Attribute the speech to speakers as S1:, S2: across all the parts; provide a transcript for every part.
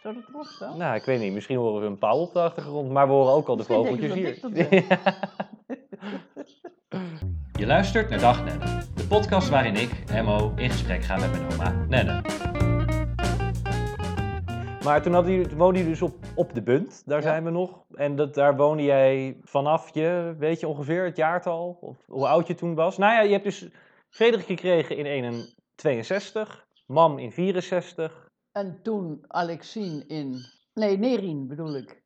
S1: Zou dat erop staan?
S2: Nou, ik weet niet. Misschien horen we een pauw op de achtergrond, maar we horen ook al de
S1: Misschien
S2: vogeltjes
S1: denken
S2: hier.
S1: ze dat ik
S2: Je luistert naar Dag Nenne, de podcast waarin ik, MO, in gesprek ga met mijn oma Nenne. Maar toen hadden jullie, woonden jullie dus op, op de Bunt, daar
S1: Ja.
S2: zijn we nog. En dat, daar woonde jij vanaf je, weet je ongeveer het jaartal, of hoe oud je toen was. Nou ja, je hebt dus Frederik gekregen in 1962, mam in 64.
S1: En toen Alexine in. Nee, Nerien bedoel ik.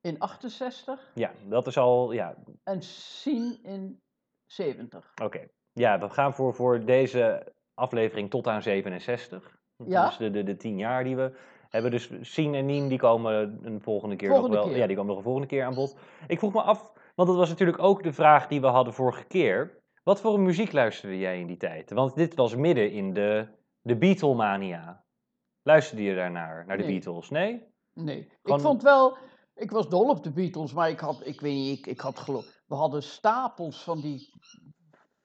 S1: In 68.
S2: Ja, dat is al, ja,
S1: En Sien in 70.
S2: Oké. Ja, we gaan voor, voor deze aflevering tot aan 67. Dat
S1: Ja.
S2: is de, de, de tien jaar die we hebben. Dus Sien en Nien, die komen een volgende keer
S1: Volgende
S2: nog wel.
S1: keer.
S2: Ja, die komen nog een volgende keer aan bod. Ik vroeg me af, want dat was natuurlijk ook de vraag die we hadden vorige keer. Wat voor muziek luisterde jij in die tijd? Want dit was midden in de, de Beatlemania. Luisterde je daarnaar, naar de
S1: Nee.
S2: Beatles? Nee?
S1: Nee.
S2: Gewoon-
S1: Ik vond wel. Ik was dol op de Beatles, maar ik had. Ik weet niet. Ik, ik had geloof. We hadden stapels van die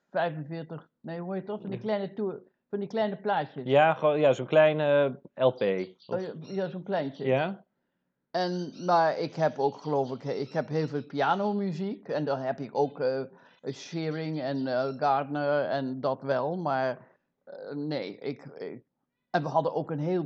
S1: 45. Nee, hoe heet dat? Van die
S2: Ja.
S1: kleine, toer, van die kleine plaatjes.
S2: Ja, gewoon, ja zo'n kleine LP.
S1: Oh
S2: Of-
S1: ja, ja, zo'n kleintje.
S2: ja?
S1: En, maar ik heb ook, geloof ik, ik heb heel veel pianomuziek. En dan heb ik ook eh Shearing en eh, Gardner en dat wel. Maar eh, nee, ik, ik- En we hadden ook een heel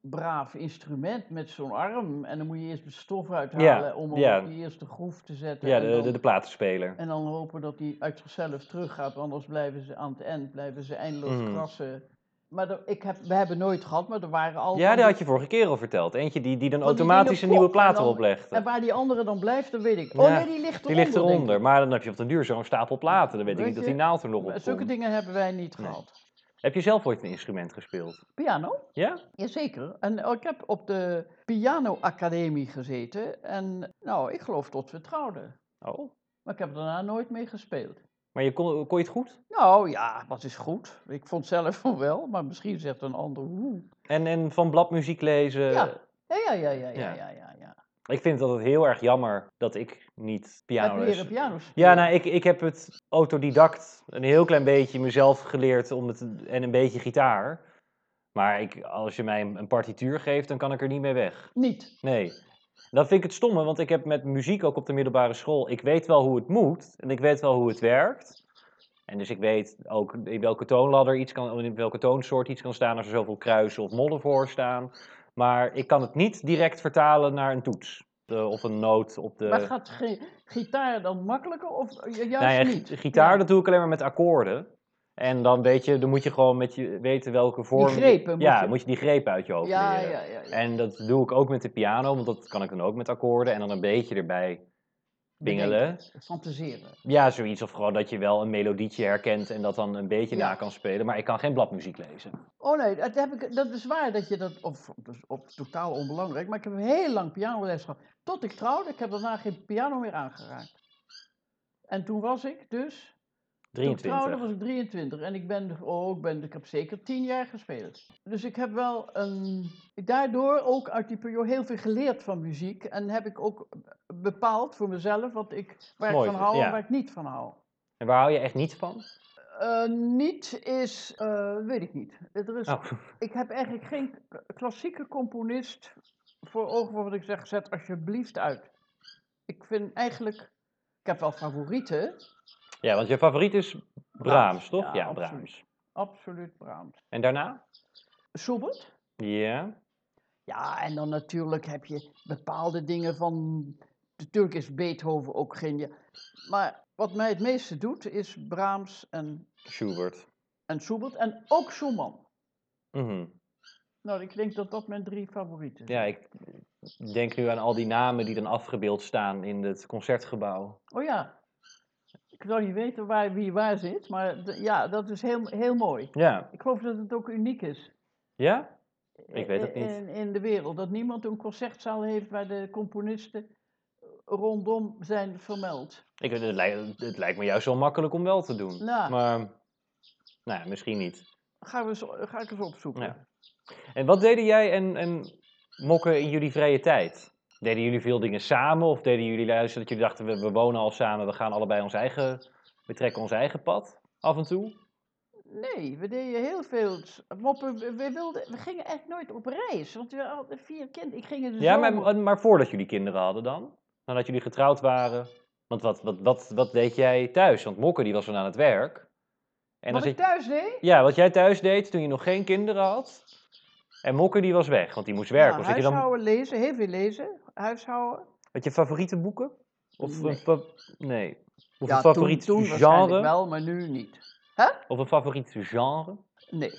S1: braaf instrument met zo'n arm. En dan moet je eerst de stof uithalen om hem
S2: ja.
S1: op die eerste groef te zetten.
S2: Ja,
S1: en,
S2: de,
S1: dan,
S2: de, de platenspeler.
S1: en dan hopen dat die uit zichzelf teruggaat. Anders blijven ze aan het eind, blijven ze eindeloos
S2: Mhm.
S1: krassen. Maar er- ik heb, we hebben nooit gehad, maar er waren altijd...
S2: Ja, die had je vorige keer al verteld. Eentje die, die dan
S1: Want die
S2: automatisch
S1: dingen
S2: een nieuwe
S1: kloppen en
S2: plaat
S1: dan-
S2: erop
S1: En
S2: legde.
S1: waar die andere dan blijft, dat weet ik.
S2: Ja,
S1: Oh nee, die ligt
S2: Die
S1: eronder.
S2: ligt
S1: denk
S2: eronder. Maar dan heb je op den duur zo'n stapel platen. Dan weet ik
S1: Weet
S2: niet dat
S1: je,
S2: die naald er nog op
S1: ik. Zulke
S2: komt.
S1: dingen hebben wij niet
S2: Nee.
S1: gehad.
S2: Heb je zelf ooit een instrument gespeeld?
S1: Piano?
S2: Ja?
S1: Jazeker. En oh, ik heb op de pianoacademie gezeten. En nou, ik geloof tot we trouwden.
S2: Oh.
S1: Maar ik heb daarna nooit meer gespeeld.
S2: Maar je kon, kon je het goed?
S1: Nou ja, wat is goed. Ik vond zelf van wel, maar misschien zegt een ander hoe.
S2: En, en van bladmuziek lezen?
S1: Ja. Ja, ja, ja, ja, ja,
S2: Ja.
S1: ja, ja. ja.
S2: Ik vind dat het heel erg jammer dat ik niet
S1: Heb
S2: piano
S1: je
S2: les-
S1: weer een piano spelen?
S2: Ja, nou, ik, ik heb het autodidact een heel klein beetje mezelf geleerd om het, en een beetje gitaar. Maar ik, als je mij een een partituur geeft, dan kan ik er niet mee weg.
S1: Niet.
S2: Nee. Dat vind ik het stomme, want ik heb met muziek ook op de middelbare school. Ik weet wel hoe het moet en ik weet wel hoe het werkt. En dus ik weet ook in welke toonladder iets kan, in welke toonsoort iets kan staan als er zoveel kruisen of modden voor staan. Maar ik kan het niet direct vertalen naar een toets eh, of een noot op de.
S1: Maar gaat gi- gitaar dan makkelijker of ju- juist
S2: Nou ja,
S1: niet?
S2: gi- gitaar,
S1: Ja.
S2: dat doe ik alleen maar met akkoorden. En dan weet je, dan moet je gewoon met je weten welke vorm.
S1: grepen moet
S2: ja,
S1: je-
S2: moet je die grepen uit je hoofd
S1: ja,
S2: leren.
S1: ja, ja, ja.
S2: En dat doe ik ook met de piano, want dat kan ik dan ook met akkoorden en dan een beetje erbij pingelen.
S1: Bedenken, Fantaseren.
S2: Ja, zoiets. Of gewoon dat je wel een melodietje herkent en dat dan een beetje
S1: Ja.
S2: na kan spelen. Maar ik kan geen bladmuziek lezen.
S1: Oh nee, dat, heb ik, dat is waar dat je dat, of, dat is op, totaal onbelangrijk, maar ik heb heel lang pianoles gehad. Tot ik trouwde, ik heb daarna geen piano meer aangeraakt. En toen was ik dus, toen ik trouwde
S2: 23.
S1: was ik 23 en ik ben, oh, ik ben, ik heb zeker 10 jaar gespeeld. Dus ik heb wel een, daardoor ook uit die periode heel veel geleerd van muziek en heb ik ook bepaald voor mezelf wat ik, waar
S2: Mooi,
S1: ik van hou
S2: ja.
S1: en waar ik niet van hou.
S2: En waar hou je echt niet van?
S1: Eh, niet is, eh, weet ik niet. Er is
S2: Oh,
S1: ik heb eigenlijk geen k- klassieke componist voor ogen voor wat ik zeg, zet alsjeblieft uit. Ik vind eigenlijk, ik heb wel favorieten,
S2: Ja, want je favoriet is Brahms, toch?
S1: ja,
S2: Ja,
S1: absoluut.
S2: Brahms.
S1: absoluut Brahms.
S2: En daarna?
S1: Schubert?
S2: Ja.
S1: Ja, en dan natuurlijk heb je bepaalde dingen van, natuurlijk is Beethoven ook geniaal. Maar wat mij het meeste doet is Brahms en,
S2: Schubert.
S1: en Schubert en ook Schumann.
S2: Mhm.
S1: Nou, ik denk dat dat mijn drie favorieten zijn.
S2: Ja, ik denk nu aan al die namen die dan afgebeeld staan in het concertgebouw.
S1: Oh ja. Ik zou niet weten waar, wie waar zit, maar d- ja, dat is heel, heel mooi.
S2: Ja.
S1: Ik geloof dat het ook uniek is. eh,
S2: Ja? Ik weet het niet.
S1: In, in de wereld. Dat niemand een concertzaal heeft waar de componisten rondom zijn vermeld.
S2: Ik, het, lijkt, het lijkt me juist wel makkelijk om wel te doen.
S1: Ja.
S2: Maar, nou ja, misschien niet.
S1: Gaan we eens, ga ik eens opzoeken.
S2: Ja. En wat deden jij en, en Mokke in jullie vrije tijd? Deden jullie veel dingen samen? Of deden jullie luisteren dat jullie dachten, we, we wonen al samen, we gaan allebei ons eigen, we trekken ons eigen pad af en toe?
S1: Nee, we deden heel veel s- moppen. We, we wilden, we gingen echt nooit op reis, want we hadden vier kinderen. Ik ging in de
S2: Ja,
S1: zomer.
S2: maar, maar voordat jullie kinderen hadden dan? Nadat jullie getrouwd waren? Want wat, wat, wat, wat deed jij thuis? Want Mokke die was dan aan het werk. En dan
S1: Wat
S2: zit
S1: ik thuis deed?
S2: Ja, wat jij thuis deed toen je nog geen kinderen had. En Mokke die was weg, want die moest werken.
S1: Nou,
S2: was dat je dan
S1: huishouden, lezen, heel veel lezen. Huishouden.
S2: had je favoriete boeken? Of
S1: Nee.
S2: een, fa- nee. Of
S1: ja,
S2: een favoriet
S1: toen, toen
S2: genre?
S1: waarschijnlijk wel, maar nu niet.
S2: Of een favoriet genre?
S1: Nee,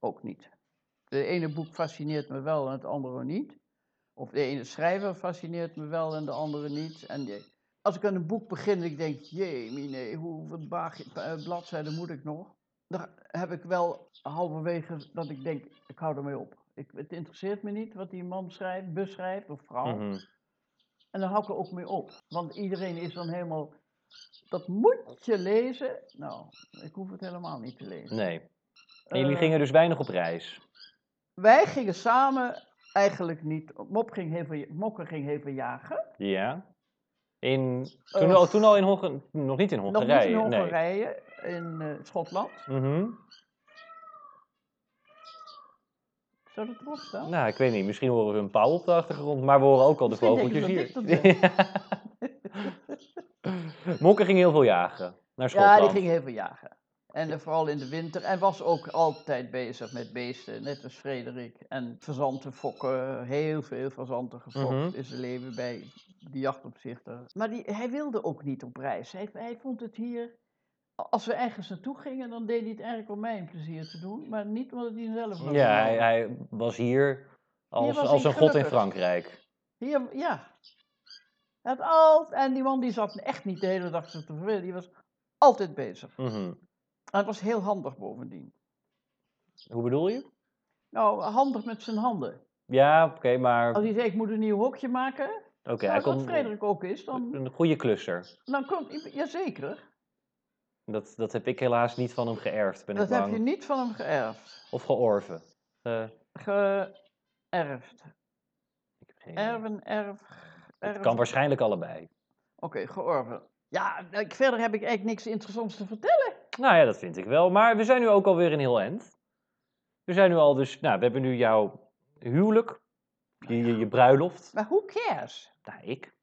S1: ook niet. De ene boek fascineert me wel en het andere niet. Of de ene schrijver fascineert me wel en de andere niet. En de- als ik aan een boek begin en ik denk, jee, mine, hoeveel baag- eh, bladzijden moet ik nog? Dan heb ik wel halverwege dat ik denk, ik hou ermee op. Ik, het interesseert me niet wat die man schrijft, beschrijft of vrouw.
S2: Mhm.
S1: En dan hou ik er ook mee op. Want iedereen is dan helemaal. Dat moet je lezen. Nou, ik hoef het helemaal niet te lezen.
S2: Nee. En jullie
S1: Eh,
S2: gingen dus weinig op reis.
S1: Wij gingen samen eigenlijk niet. Mop ging heel veel, Mokke ging heel veel jagen.
S2: Ja. In, toen,
S1: Eh,
S2: al, toen al in Hongarije? Nog niet in
S1: Nog niet
S2: Hongarije.
S1: in
S2: Nee.
S1: Hongarije, in eh, Schotland.
S2: Mhm.
S1: Zou dat erop staan?
S2: Nou, ik weet niet. Misschien horen we een pauw op de achtergrond, maar we horen ook al de
S1: Misschien
S2: vogeltjes
S1: denken ze
S2: hier.
S1: dat
S2: Mokke ging heel veel jagen naar Schotland.
S1: Ja, die ging heel veel jagen. En eh, vooral in de winter. En was ook altijd bezig met beesten, net als Frederik. En fazanten fokken, heel veel fazanten gefokt
S2: Mhm.
S1: in zijn leven bij de jachtopzichter. Maar die, hij wilde ook niet op reis. Hij, hij vond het hier... Als we ergens naartoe gingen, dan deed hij het eigenlijk om mij een plezier te doen. Maar niet omdat hij zelf nog
S2: Ja, hij, hij was hier als,
S1: was
S2: als
S1: hij
S2: een god in
S1: gelukkig.
S2: Frankrijk.
S1: Hier, ja. Hij had al, en die man die zat echt niet de hele dag te vervelen. Die was altijd bezig.
S2: Mhm.
S1: En het was heel handig bovendien.
S2: Hoe bedoel je?
S1: Nou, handig met zijn handen.
S2: Ja, oké, maar
S1: Als
S2: oké,
S1: hij zei, ik moet een nieuw hokje maken,
S2: hij
S1: nou, wat
S2: kon
S1: Frederik ook is, dan,
S2: een goede klusser.
S1: dan komt... Jazeker,
S2: Dat, dat heb ik helaas niet van hem geërfd, ben
S1: dat
S2: ik
S1: heb
S2: bang.
S1: je niet van hem geërfd.
S2: Of georven. Eh, ik
S1: Geërfd.
S2: heb geen idee.
S1: Erven, erf...
S2: het
S1: erf-
S2: kan waarschijnlijk allebei.
S1: Oké, georven. Ja, nou, ik- verder heb ik eigenlijk niks interessants te vertellen.
S2: Nou ja, dat vind ik wel. Maar we zijn nu ook alweer in heel end. We zijn nu al dus, nou, we hebben nu jouw huwelijk, je, je, je bruiloft.
S1: Maar who cares?
S2: Nou, ik.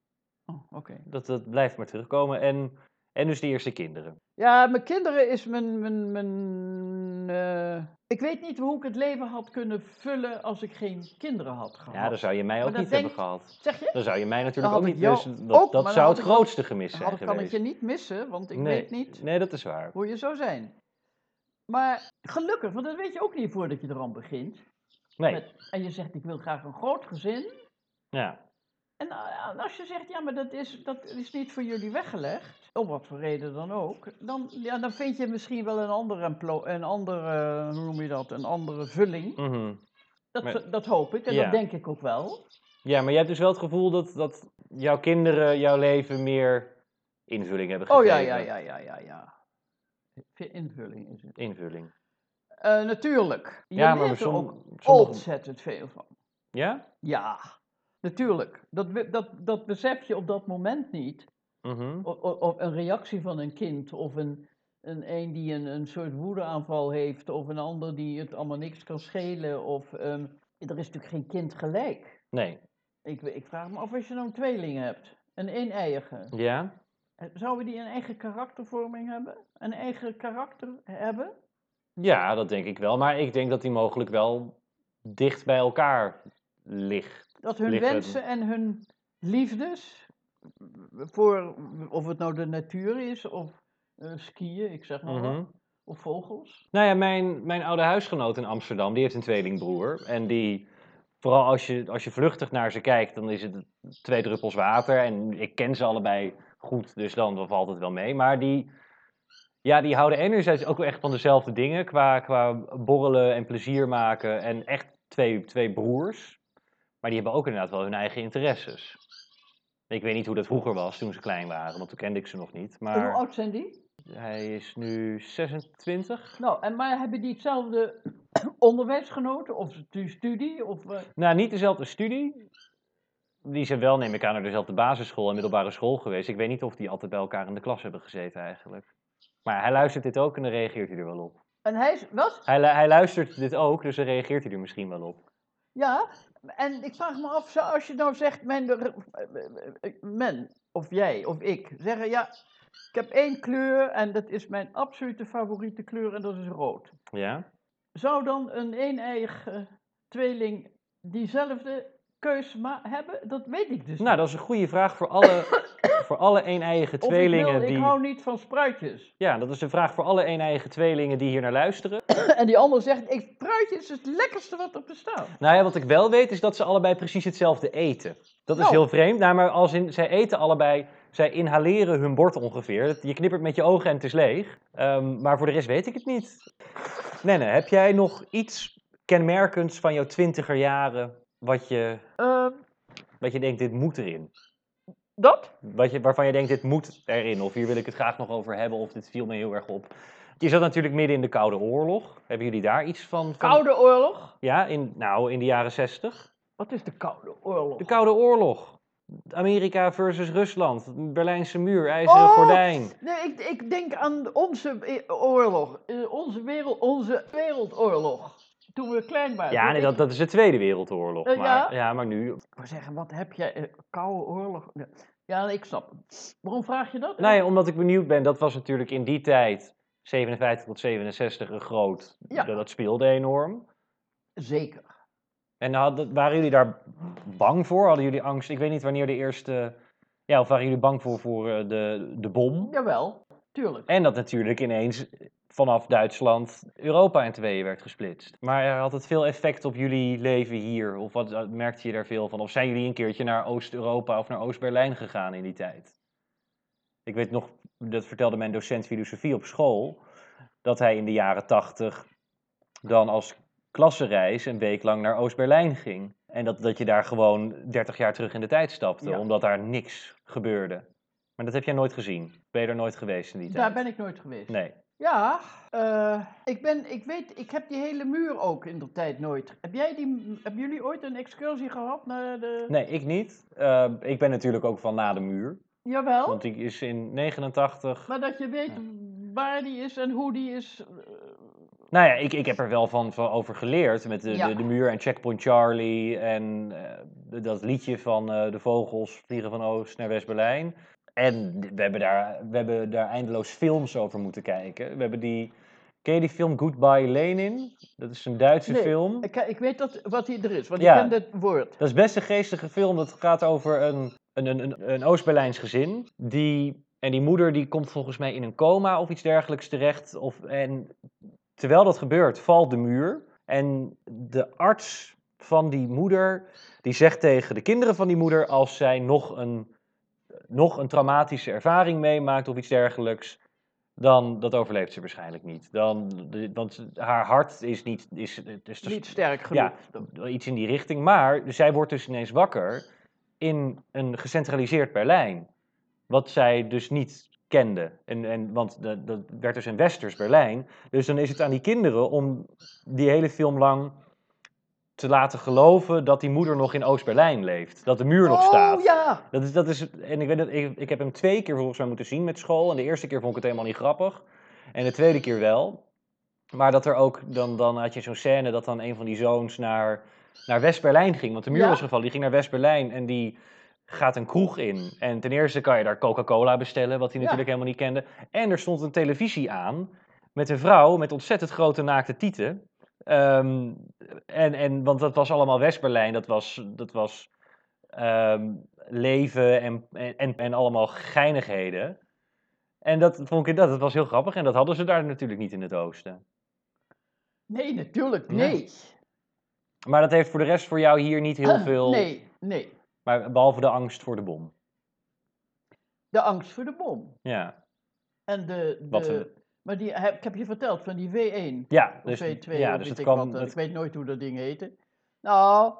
S1: Oh, oké.
S2: Dat, dat blijft maar terugkomen. En, en dus de eerste kinderen.
S1: Ja, mijn kinderen is mijn. mijn, mijn eh, ik weet niet hoe ik het leven had kunnen vullen als ik geen kinderen had gehad.
S2: Ja, dan zou je mij ook
S1: Oh, Maar dat
S2: niet hebben
S1: denk-
S2: gehad.
S1: Zeg je?
S2: Dan zou je mij natuurlijk
S1: had
S2: ook
S1: ik
S2: niet
S1: jou
S2: missen.
S1: ook,
S2: Dat,
S1: maar
S2: dat
S1: dan
S2: zou
S1: had
S2: het
S1: ik ook-
S2: grootste gemis zijn
S1: Dan kan ik
S2: geweest.
S1: je niet missen, want ik
S2: nee,
S1: weet niet
S2: Nee, dat is waar.
S1: hoe je zou zijn. Maar gelukkig, want dat weet je ook niet voordat je eraan begint.
S2: Nee,
S1: Met- en je zegt, ik wil graag een groot gezin.
S2: ja.
S1: En eh, als je zegt, ja, maar dat is, dat is niet voor jullie weggelegd, om wat voor reden dan ook, dan, ja, dan vind je misschien wel een andere, emplo- een andere, hoe noem je dat, een andere vulling.
S2: mhm.
S1: Dat,
S2: Maar-
S1: dat hoop ik en
S2: Ja.
S1: dat denk ik ook wel.
S2: Ja, maar je hebt dus wel het gevoel dat, dat jouw kinderen jouw leven meer invulling hebben
S1: Oh
S2: gegeven.
S1: ja, ja, ja, ja, ja, ja. Veel invulling is het.
S2: Invulling.
S1: Eh, natuurlijk. Je
S2: ja,
S1: leert
S2: maar
S1: er
S2: som-
S1: ook
S2: sommige-
S1: ontzettend veel van.
S2: Ja?
S1: Ja, natuurlijk. Dat, we- dat, dat besef je op dat moment niet.
S2: Mhm.
S1: O- o- of een reactie van een kind of een, een, een die een, een soort woedeaanval heeft of een ander die het allemaal niks kan schelen. Of, ehm, er is natuurlijk geen kind gelijk.
S2: Nee.
S1: Ik, ik vraag me af als je nou tweelingen hebt. Een eeneiige.
S2: Ja?
S1: Zouden die een eigen karaktervorming hebben? Een eigen karakter hebben?
S2: Ja, dat denk ik wel. Maar ik denk dat die mogelijk wel dicht bij elkaar ligt.
S1: Dat hun
S2: Liggen.
S1: wensen en hun liefdes voor, of het nou de natuur is of eh, skiën, ik zeg maar, wat,
S2: Mhm.
S1: of vogels.
S2: Nou ja, mijn, mijn oude huisgenoot in Amsterdam, die heeft een tweelingbroer. En die, vooral als je, als je vluchtig naar ze kijkt, dan is het twee druppels water. En ik ken ze allebei goed, dus dan valt het wel mee. Maar die, ja, die houden enerzijds ook wel echt van dezelfde dingen. Qua, qua borrelen en plezier maken. En echt twee, twee broers. Maar die hebben ook inderdaad wel hun eigen interesses. Ik weet niet hoe dat vroeger was toen ze klein waren, want toen kende ik ze nog niet.
S1: En hoe
S2: Maar
S1: oud zijn die?
S2: hij is nu 26.
S1: Nou, en maar hebben die hetzelfde onderwijsgenoten of de studie? Of, eh,
S2: Nou, niet dezelfde studie. Die zijn wel, neem ik aan, naar dezelfde basisschool en middelbare school geweest. Ik weet niet of die altijd bij elkaar in de klas hebben gezeten eigenlijk. Maar hij luistert dit ook en dan reageert hij er wel op.
S1: En hij is, wat?
S2: Hij, lu- hij luistert dit ook, dus dan reageert hij er misschien wel op.
S1: Ja, en ik vraag me af, zou- als je nou zegt, men, de- eh, men of jij of ik, zeggen ja, ik heb één kleur en dat is mijn absolute favoriete kleur en dat is rood.
S2: Ja?
S1: Zou dan een eeneiige tweeling diezelfde keus ma- hebben? Dat weet ik dus
S2: Nou,
S1: niet.
S2: dat is een goede vraag voor alle, voor alle een-eiige
S1: Of ik wil,
S2: tweelingen
S1: Ik
S2: die...
S1: hou niet van spruitjes.
S2: Ja, dat is een vraag voor alle een-eigen tweelingen die hier naar luisteren.
S1: En die ander zegt, ik, spruitje is het lekkerste wat er bestaat.
S2: Nou ja, wat ik wel weet is dat ze allebei precies hetzelfde eten. Dat is
S1: Nou.
S2: heel vreemd. Nou, maar als in, zij eten allebei, zij inhaleren hun bord ongeveer. Dat- Je knippert met je ogen en het is leeg. Ehm, maar voor de rest weet ik het niet. Nenne, heb jij nog iets kenmerkends van jouw twintiger jaren wat je,
S1: Ehm,
S2: wat je denkt, dit moet erin?
S1: dat?
S2: Wat je, waarvan je denkt, dit moet erin, of hier wil ik het graag nog over hebben, of dit viel me heel erg op. Je zat natuurlijk midden in de Koude Oorlog. Hebben jullie daar iets van? van-
S1: Koude oorlog?
S2: Ja, in, nou, in de jaren zestig.
S1: Wat is de koude oorlog?
S2: De Koude Oorlog. Amerika versus Rusland. Berlijnse muur, ijzeren
S1: Oh!
S2: gordijn.
S1: Nee, ik, ik denk aan onze e- oorlog, eh, onze, wereld, onze wereldoorlog. Toen we klein waren.
S2: Ja,
S1: Toen
S2: nee,
S1: ik-
S2: dat, dat is de Tweede Wereldoorlog.
S1: Eh,
S2: maar,
S1: ja?
S2: maar nu...
S1: Ik wou zeggen, wat heb jij? eh, Koude oorlog? Ja, Ja, ik snap het. Waarom vraag je dat?
S2: Nou ja, omdat ik benieuwd ben, dat was natuurlijk in die tijd, 57 tot 67, een groot...
S1: Ja.
S2: Dat, dat speelde enorm.
S1: Zeker.
S2: En hadden, waren jullie daar bang voor? Hadden jullie angst? Ik weet niet wanneer de eerste... Ja, of waren jullie bang voor, voor eh, de, de bom?
S1: Jawel, tuurlijk.
S2: En dat natuurlijk ineens vanaf Duitsland Europa in tweeën werd gesplitst. Maar eh, had het veel effect op jullie leven hier? Of wat eh, merkte je daar veel van? Of zijn jullie een keertje naar Oost-Europa of naar Oost-Berlijn gegaan in die tijd? Ik weet nog, dat vertelde mijn docent filosofie op school, dat hij in de jaren tachtig dan als klassenreis een week lang naar Oost-Berlijn ging. En dat, dat je daar gewoon 30 jaar terug in de tijd stapte,
S1: Ja.
S2: omdat daar niks gebeurde. Maar dat heb jij nooit gezien. Ben je er nooit geweest in die tijd?
S1: Daar ben ik nooit geweest.
S2: Nee.
S1: Ja, eh, ik ben, ik weet, ik heb die hele muur ook in de tijd nooit. Heb jij die, m- hebben jullie ooit een excursie gehad naar de...
S2: nee, ik niet. Eh, ik ben natuurlijk ook van na de muur.
S1: Oh. Jawel,
S2: Want die is in 89.
S1: maar dat je weet waar die is en hoe die is. eh,
S2: Nou ja, ik, ik heb er wel van, van over geleerd. Met de,
S1: Ja.
S2: de, de muur en Checkpoint Charlie. En eh, dat liedje van eh, de vogels vliegen van Oost naar West-Berlijn. En we hebben, daar, we hebben daar eindeloos films over moeten kijken. We hebben die. Ken je die film Goodbye Lenin? Dat is een Duitse
S1: Nee.
S2: film.
S1: Ik, ik weet dat, wat hij er is, want
S2: Ja.
S1: ik ken dat woord.
S2: Dat is best een geestige film. Dat gaat over een, een, een, een- een Oost-Berlijns gezin. Die, en die moeder die komt volgens mij in een coma of iets dergelijks terecht. Of, en terwijl dat gebeurt, valt de muur. En de arts van die moeder, die zegt tegen de kinderen van die moeder... als zij nog een, nog een traumatische ervaring meemaakt of iets dergelijks... dan dat overleeft ze waarschijnlijk niet. Dan, want haar hart is niet... Is, is te-
S1: Niet sterk
S2: ja,
S1: genoeg.
S2: wel iets in die richting. Maar zij wordt dus ineens wakker in een gecentraliseerd Berlijn. Wat zij dus niet kende. En, en, want dat, dat werd dus een westers Berlijn. Dus dan is het aan die kinderen om die hele film lang te laten geloven dat die moeder nog in Oost-Berlijn leeft. Dat de muur nog
S1: oh,
S2: staat.
S1: ja.
S2: Dat is, dat is, en ik, weet dat, ik, ik heb hem twee keer volgens mij moeten zien met school. En de eerste keer vond ik het helemaal niet grappig. En de tweede keer wel. Maar dat er ook, dan, dan had je zo'n scène dat dan een van die zoons naar, naar West-Berlijn ging. Want de muur
S1: Ja.
S2: was gevallen. Die ging naar West-Berlijn en die gaat een kroeg in. En ten eerste kan je daar Coca-Cola bestellen, wat
S1: Ja.
S2: hij natuurlijk helemaal niet kende. En er stond een televisie aan met een vrouw met ontzettend grote naakte tieten. Ehm, en, en, want dat was allemaal West-Berlijn. Dat was, dat was ehm, leven en, en, en allemaal geinigheden. En dat vond ik dat, dat was heel grappig. En dat hadden ze daar natuurlijk niet in het oosten.
S1: Nee, natuurlijk,
S2: Ja.
S1: nee.
S2: Maar dat heeft voor de rest voor jou hier niet heel
S1: Ah,
S2: veel.
S1: Nee, nee.
S2: Maar behalve de angst voor de bom.
S1: De angst voor de bom.
S2: Ja.
S1: En de... de
S2: Wat een-
S1: Maar die, heb, ik heb je verteld van die V1
S2: Ja,
S1: of
S2: dus,
S1: V2
S2: ja,
S1: of weet
S2: dus dat
S1: ik
S2: kwam.
S1: wat. eh, Ik
S2: dat-
S1: weet nooit hoe dat ding heette. Nou,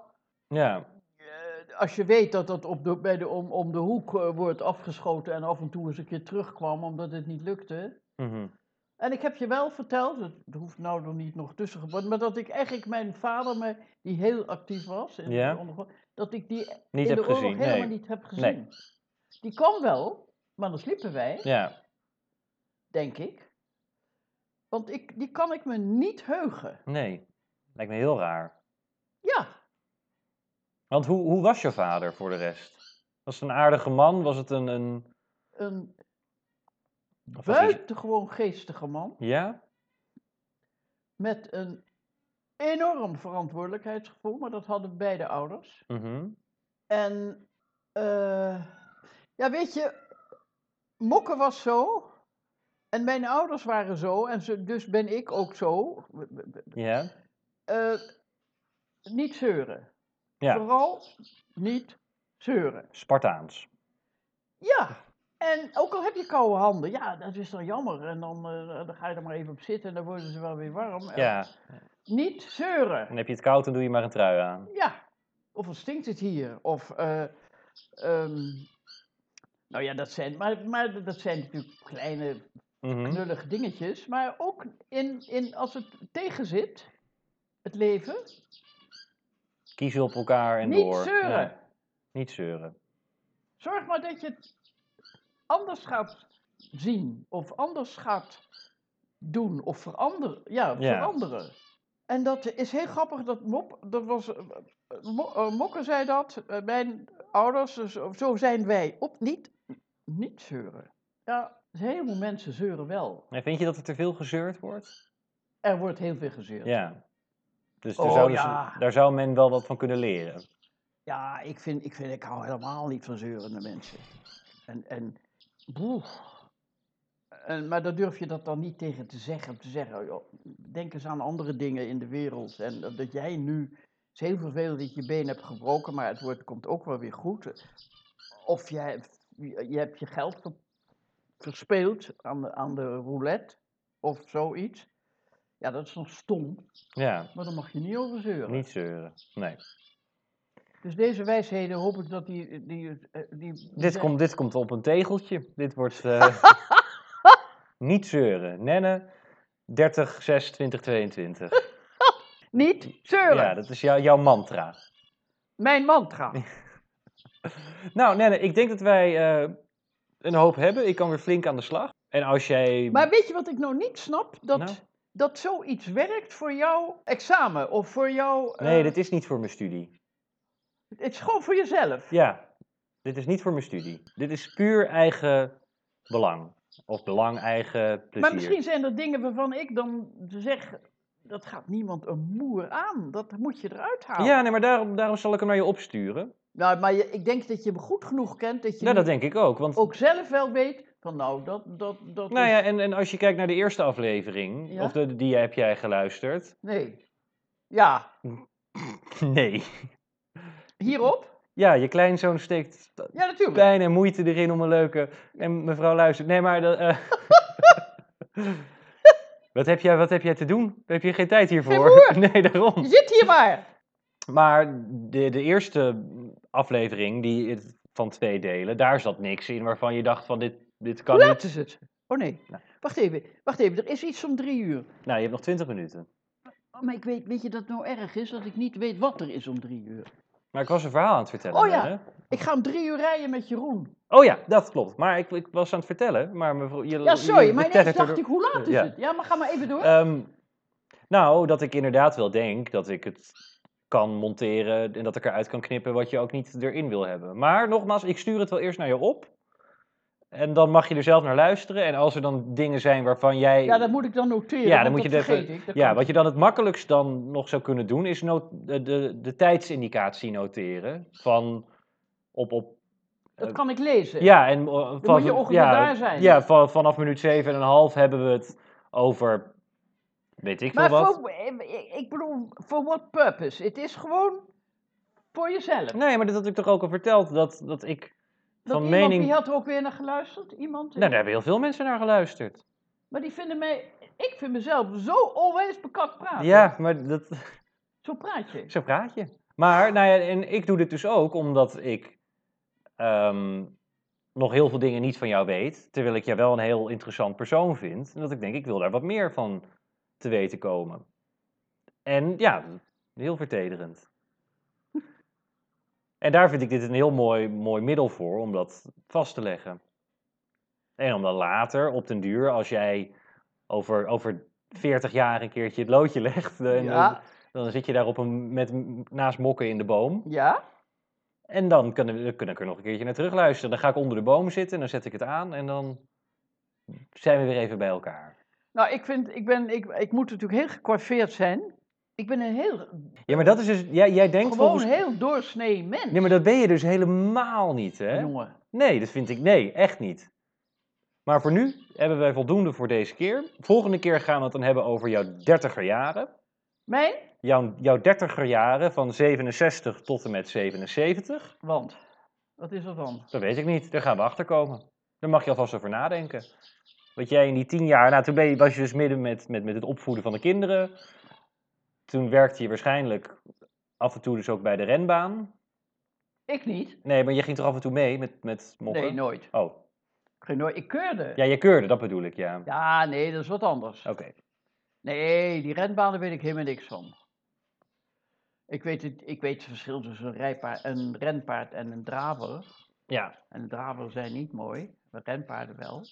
S2: ja.
S1: eh, als je weet dat dat op de, bij de, om, om de hoek eh, wordt afgeschoten en af en toe eens een keer terugkwam omdat het niet lukte.
S2: mhm.
S1: En ik heb je wel verteld, dat hoeft nou nog niet nog tussen te worden, maar dat ik eigenlijk mijn vader, me, die heel actief was, in
S2: Ja.
S1: de ondergro- dat ik die
S2: Niet
S1: in
S2: heb
S1: de oorlog
S2: gezien.
S1: helemaal
S2: Nee.
S1: niet heb gezien.
S2: Nee.
S1: Die kwam wel, maar dan sliepen wij,
S2: Ja.
S1: denk ik. Want ik, die kan ik me niet heugen.
S2: Nee, lijkt me heel raar.
S1: Ja,
S2: Want hoe, hoe was je vader voor de rest? Was het een aardige man? Was het een... een...
S1: een
S2: of was hij-
S1: buitengewoon geestige man
S2: Ja?
S1: met een enorm verantwoordelijkheidsgevoel, maar dat hadden beide ouders.
S2: Mhm.
S1: En eh, ja, weet je, Mokke was zo. En mijn ouders waren zo. En ze, dus ben ik ook zo.
S2: Ja?
S1: Eh, niet zeuren.
S2: Ja,
S1: Vooral niet zeuren.
S2: Spartaans.
S1: Ja. En ook al heb je koude handen, ja, dat is dan jammer. En dan, eh, dan ga je er maar even op zitten en dan worden ze wel weer warm. En
S2: Ja,
S1: Niet zeuren.
S2: dan heb je het koud en doe je maar een trui aan.
S1: Ja, of wat stinkt het hier? Of, eh, ehm, nou ja, dat zijn, maar, maar dat zijn natuurlijk kleine
S2: Mhm.
S1: knullige dingetjes. Maar ook in, in, als het tegen zit, het leven,
S2: Dus Kiezen op elkaar en
S1: niet
S2: door.
S1: zeuren.
S2: Ja, niet zeuren.
S1: Zorg maar dat je het anders gaat zien. Of anders gaat doen. Of verander, ja,
S2: Ja.
S1: veranderen. En dat is heel grappig dat Mop, dat was, eh, Mo- eh, Mokke zei dat, eh, mijn ouders, dus zo zijn wij. Op niet, niet zeuren. Ja, een heleboel mensen zeuren wel.
S2: En vind je dat er te veel gezeurd wordt?
S1: Er wordt heel veel gezeurd.
S2: Ja. Dus daar,
S1: Oh,
S2: zouden
S1: ja.
S2: ze, daar zou men wel wat van kunnen leren.
S1: Ja, ik vind, ik vind, ik hou helemaal niet van zeurende mensen. En, en, boeh. En, maar dan durf je dat dan niet tegen te zeggen. Om te zeggen, oh, joh, denk eens aan andere dingen in de wereld. En dat dat jij nu, het is heel vervelend dat je je been hebt gebroken, maar het wordt, komt ook wel weer goed. Of je hebt je, je hebt je geld ver- verspeeld aan de, aan de roulette of zoiets. Ja, dat is nog stom,
S2: Ja,
S1: maar daar mag je niet over zeuren.
S2: niet zeuren. Nee.
S1: Dus deze wijsheden hoop ik dat die. die, eh, die,
S2: Dit,
S1: zijn-
S2: komt, dit komt op een tegeltje. Dit wordt. eh, niet zeuren. Nenne 30, 6, 20, 22.
S1: Niet zeuren!
S2: Ja, dat is jou- jouw mantra.
S1: Mijn mantra.
S2: Nou, Nenne, ik denk dat wij eh, een hoop hebben. Ik kan weer flink aan de slag. En als jij.
S1: Maar weet je wat ik nou niet snap? Dat,
S2: Nou?
S1: dat zoiets werkt voor jouw examen of voor jouw. eh,
S2: Nee, dit is niet voor mijn studie.
S1: Het is gewoon voor jezelf.
S2: Ja, dit is niet voor mijn studie. Dit is puur eigen belang. Of belang, eigen plezier.
S1: maar misschien zijn er dingen waarvan ik dan zeg. Dat gaat niemand een moer aan. Dat moet je eruit halen.
S2: Ja, nee, maar daarom, daarom zal ik hem naar je opsturen.
S1: Nou, maar je, ik denk dat je hem goed genoeg kent. Dat je
S2: Nou, dat
S1: nu
S2: denk ik ook. Want
S1: ook zelf wel weet. Van nou, dat. dat, dat
S2: Nou
S1: is-
S2: ja, en, en als je kijkt naar de eerste aflevering,
S1: Ja?
S2: of de, die heb jij geluisterd?
S1: Nee. Ja,
S2: Nee.
S1: hierop?
S2: Ja, je kleinzoon steekt
S1: Ja, natuurlijk.
S2: pijn en moeite erin om een leuke. En mevrouw luistert. Nee, maar. dat, eh, wat, heb jij, wat heb jij te doen? Heb je geen tijd hiervoor?
S1: Geen
S2: nee, daarom.
S1: Je zit hier maar.
S2: Maar de, de eerste aflevering, die, van twee delen, daar zat niks in waarvan je dacht: van dit, dit kan
S1: Hoe laat
S2: niet.
S1: is het? Oh nee,
S2: Nou.
S1: wacht even, wacht even, er is iets om drie uur.
S2: Nou, je hebt nog twintig minuten.
S1: Oh, maar ik weet, weet je dat nou erg is, dat ik niet weet wat er is om drie uur.
S2: Maar ik was een verhaal aan het vertellen.
S1: Oh ja.
S2: Nelle.
S1: Ik ga om drie uur rijden met Jeroen.
S2: Oh ja, dat klopt. Maar ik, ik was aan het vertellen, maar mevrouw... Je,
S1: Ja, sorry, maar
S2: net
S1: ineens dacht ik, hoe laat is
S2: Oh, Ja. Eh,
S1: het? Ja, maar ga maar even door.
S2: Ehm, nou, dat ik inderdaad wel denk dat ik het kan monteren en dat ik eruit kan knippen wat je ook niet erin wil hebben. Maar nogmaals, ik stuur het wel eerst naar je op. En dan mag je er zelf naar luisteren. En als er dan dingen zijn waarvan jij...
S1: ja, dat moet ik dan noteren,
S2: Ja, dan
S1: want
S2: moet je
S1: dat
S2: het even-
S1: vergeet ik. Dat
S2: Ja,
S1: kan-
S2: wat je dan het makkelijkst dan nog zou kunnen doen, is no- de, de, de tijdsindicatie noteren. Van op, op
S1: dat kan ik lezen.
S2: Ja, en eh, van,
S1: moet je ongeveer
S2: ja,
S1: daar zijn.
S2: Ja, van, vanaf minuut 7,5 hebben we het over. Weet ik
S1: maar
S2: veel wat.
S1: voor, eh, ik ik bedoel, for what purpose? Het is gewoon voor jezelf.
S2: Nee, maar dat had ik toch ook al verteld. Dat, dat ik.
S1: dat
S2: van
S1: iemand,
S2: mening-
S1: die had er ook weer naar geluisterd, iemand.
S2: Nou, daar hebben heel veel mensen naar geluisterd.
S1: Maar die vinden mij, ik vind mezelf zo always bekakt praten.
S2: Ja, maar dat.
S1: Zo praat je.
S2: Zo praat je. Maar, nou ja, en ik doe dit dus ook omdat ik. ehm, nog heel veel dingen niet van jou weet. Terwijl ik jou wel een heel interessant persoon vind. En dat ik denk, ik wil daar wat meer van te weten komen. En ja, heel vertederend. En daar vind ik dit een heel mooi, mooi middel voor om dat vast te leggen. En om dan later, op den duur, als jij over, over 40 jaar een keertje het loodje legt. eh, En
S1: Ja.
S2: dan, dan zit je daar op een, met, naast mokken in de boom.
S1: Ja?
S2: En dan kunnen, we- dan kan ik er nog een keertje naar terugluisteren. Dan ga ik onder de boom zitten en dan zet ik het aan en dan zijn we weer even bij elkaar.
S1: Nou, ik vind, ik ben, ik, ik moet natuurlijk heel gecoiffeerd zijn. Ik ben een heel,
S2: Ja, maar dat is dus. Jij, jij denkt
S1: gewoon
S2: volgens-
S1: heel doorsnee mens.
S2: Nee, maar dat ben je dus helemaal niet, hè?
S1: Jongen.
S2: Nee, dat vind ik. Nee, echt niet. Maar voor nu hebben wij voldoende voor deze keer. Volgende keer gaan we het dan hebben over jouw dertiger jaren.
S1: Mijn?
S2: Jouw, jouw dertiger jaren van 67 tot en met 77.
S1: Want, wat is er dan?
S2: Dat weet ik niet. Daar gaan we achter komen. Daar mag je alvast over nadenken. Want jij in die tien jaar, nou toen ben je, was je dus midden met, met, met het opvoeden van de kinderen. Toen werkte je waarschijnlijk af en toe dus ook bij de renbaan.
S1: Ik niet.
S2: Nee, maar je ging toch af en toe mee met, met mokken?
S1: Nee, nooit.
S2: Oh,
S1: Geen nooit. Ik keurde.
S2: ja, Oh. je keurde, dat bedoel ik, ja.
S1: Ja, nee, dat is wat anders.
S2: Oké.
S1: Nee, die renbanen weet ik helemaal niks van. Ik weet het, ik weet het verschil tussen een, rijpaard, een renpaard en een draver.
S2: Ja.
S1: En draver zijn niet mooi, maar renpaarden wel.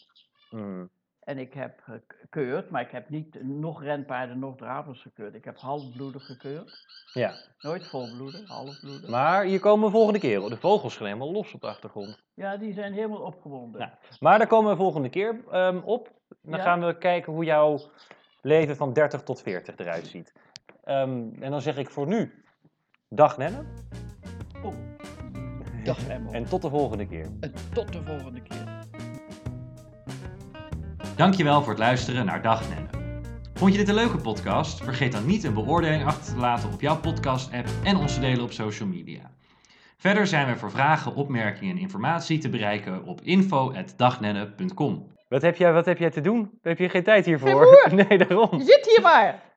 S2: Mm.
S1: En ik heb gekeurd, maar ik heb niet nog renpaarden, nog dravers gekeurd. Ik heb halfbloeden gekeurd.
S2: Ja.
S1: Nooit volbloeden, halfbloeden.
S2: Maar hier komen we volgende keer. hoor. De vogels gaan helemaal los op de achtergrond.
S1: Ja, die zijn helemaal opgewonden.
S2: Nou, Maar daar komen we volgende keer ehm, op. Dan
S1: Ja.
S2: gaan we kijken hoe jouw leven van 30 tot 40 eruit ziet. Ehm, en dan zeg ik voor nu dag Nenne
S1: Oeh. Dag Emma.
S2: en tot de volgende keer.
S1: en tot de volgende keer.
S2: Dankjewel voor het luisteren naar Dag Nenne. Vond je dit een leuke podcast? Vergeet dan niet een beoordeling achter te laten op jouw podcast-app en ons te delen op social media. Verder zijn we voor vragen, opmerkingen en informatie te bereiken op info.dagnenne.com. Wat heb jij, wat heb jij te doen? Heb je geen tijd hiervoor? Nee, daarom.
S1: Je zit hier maar!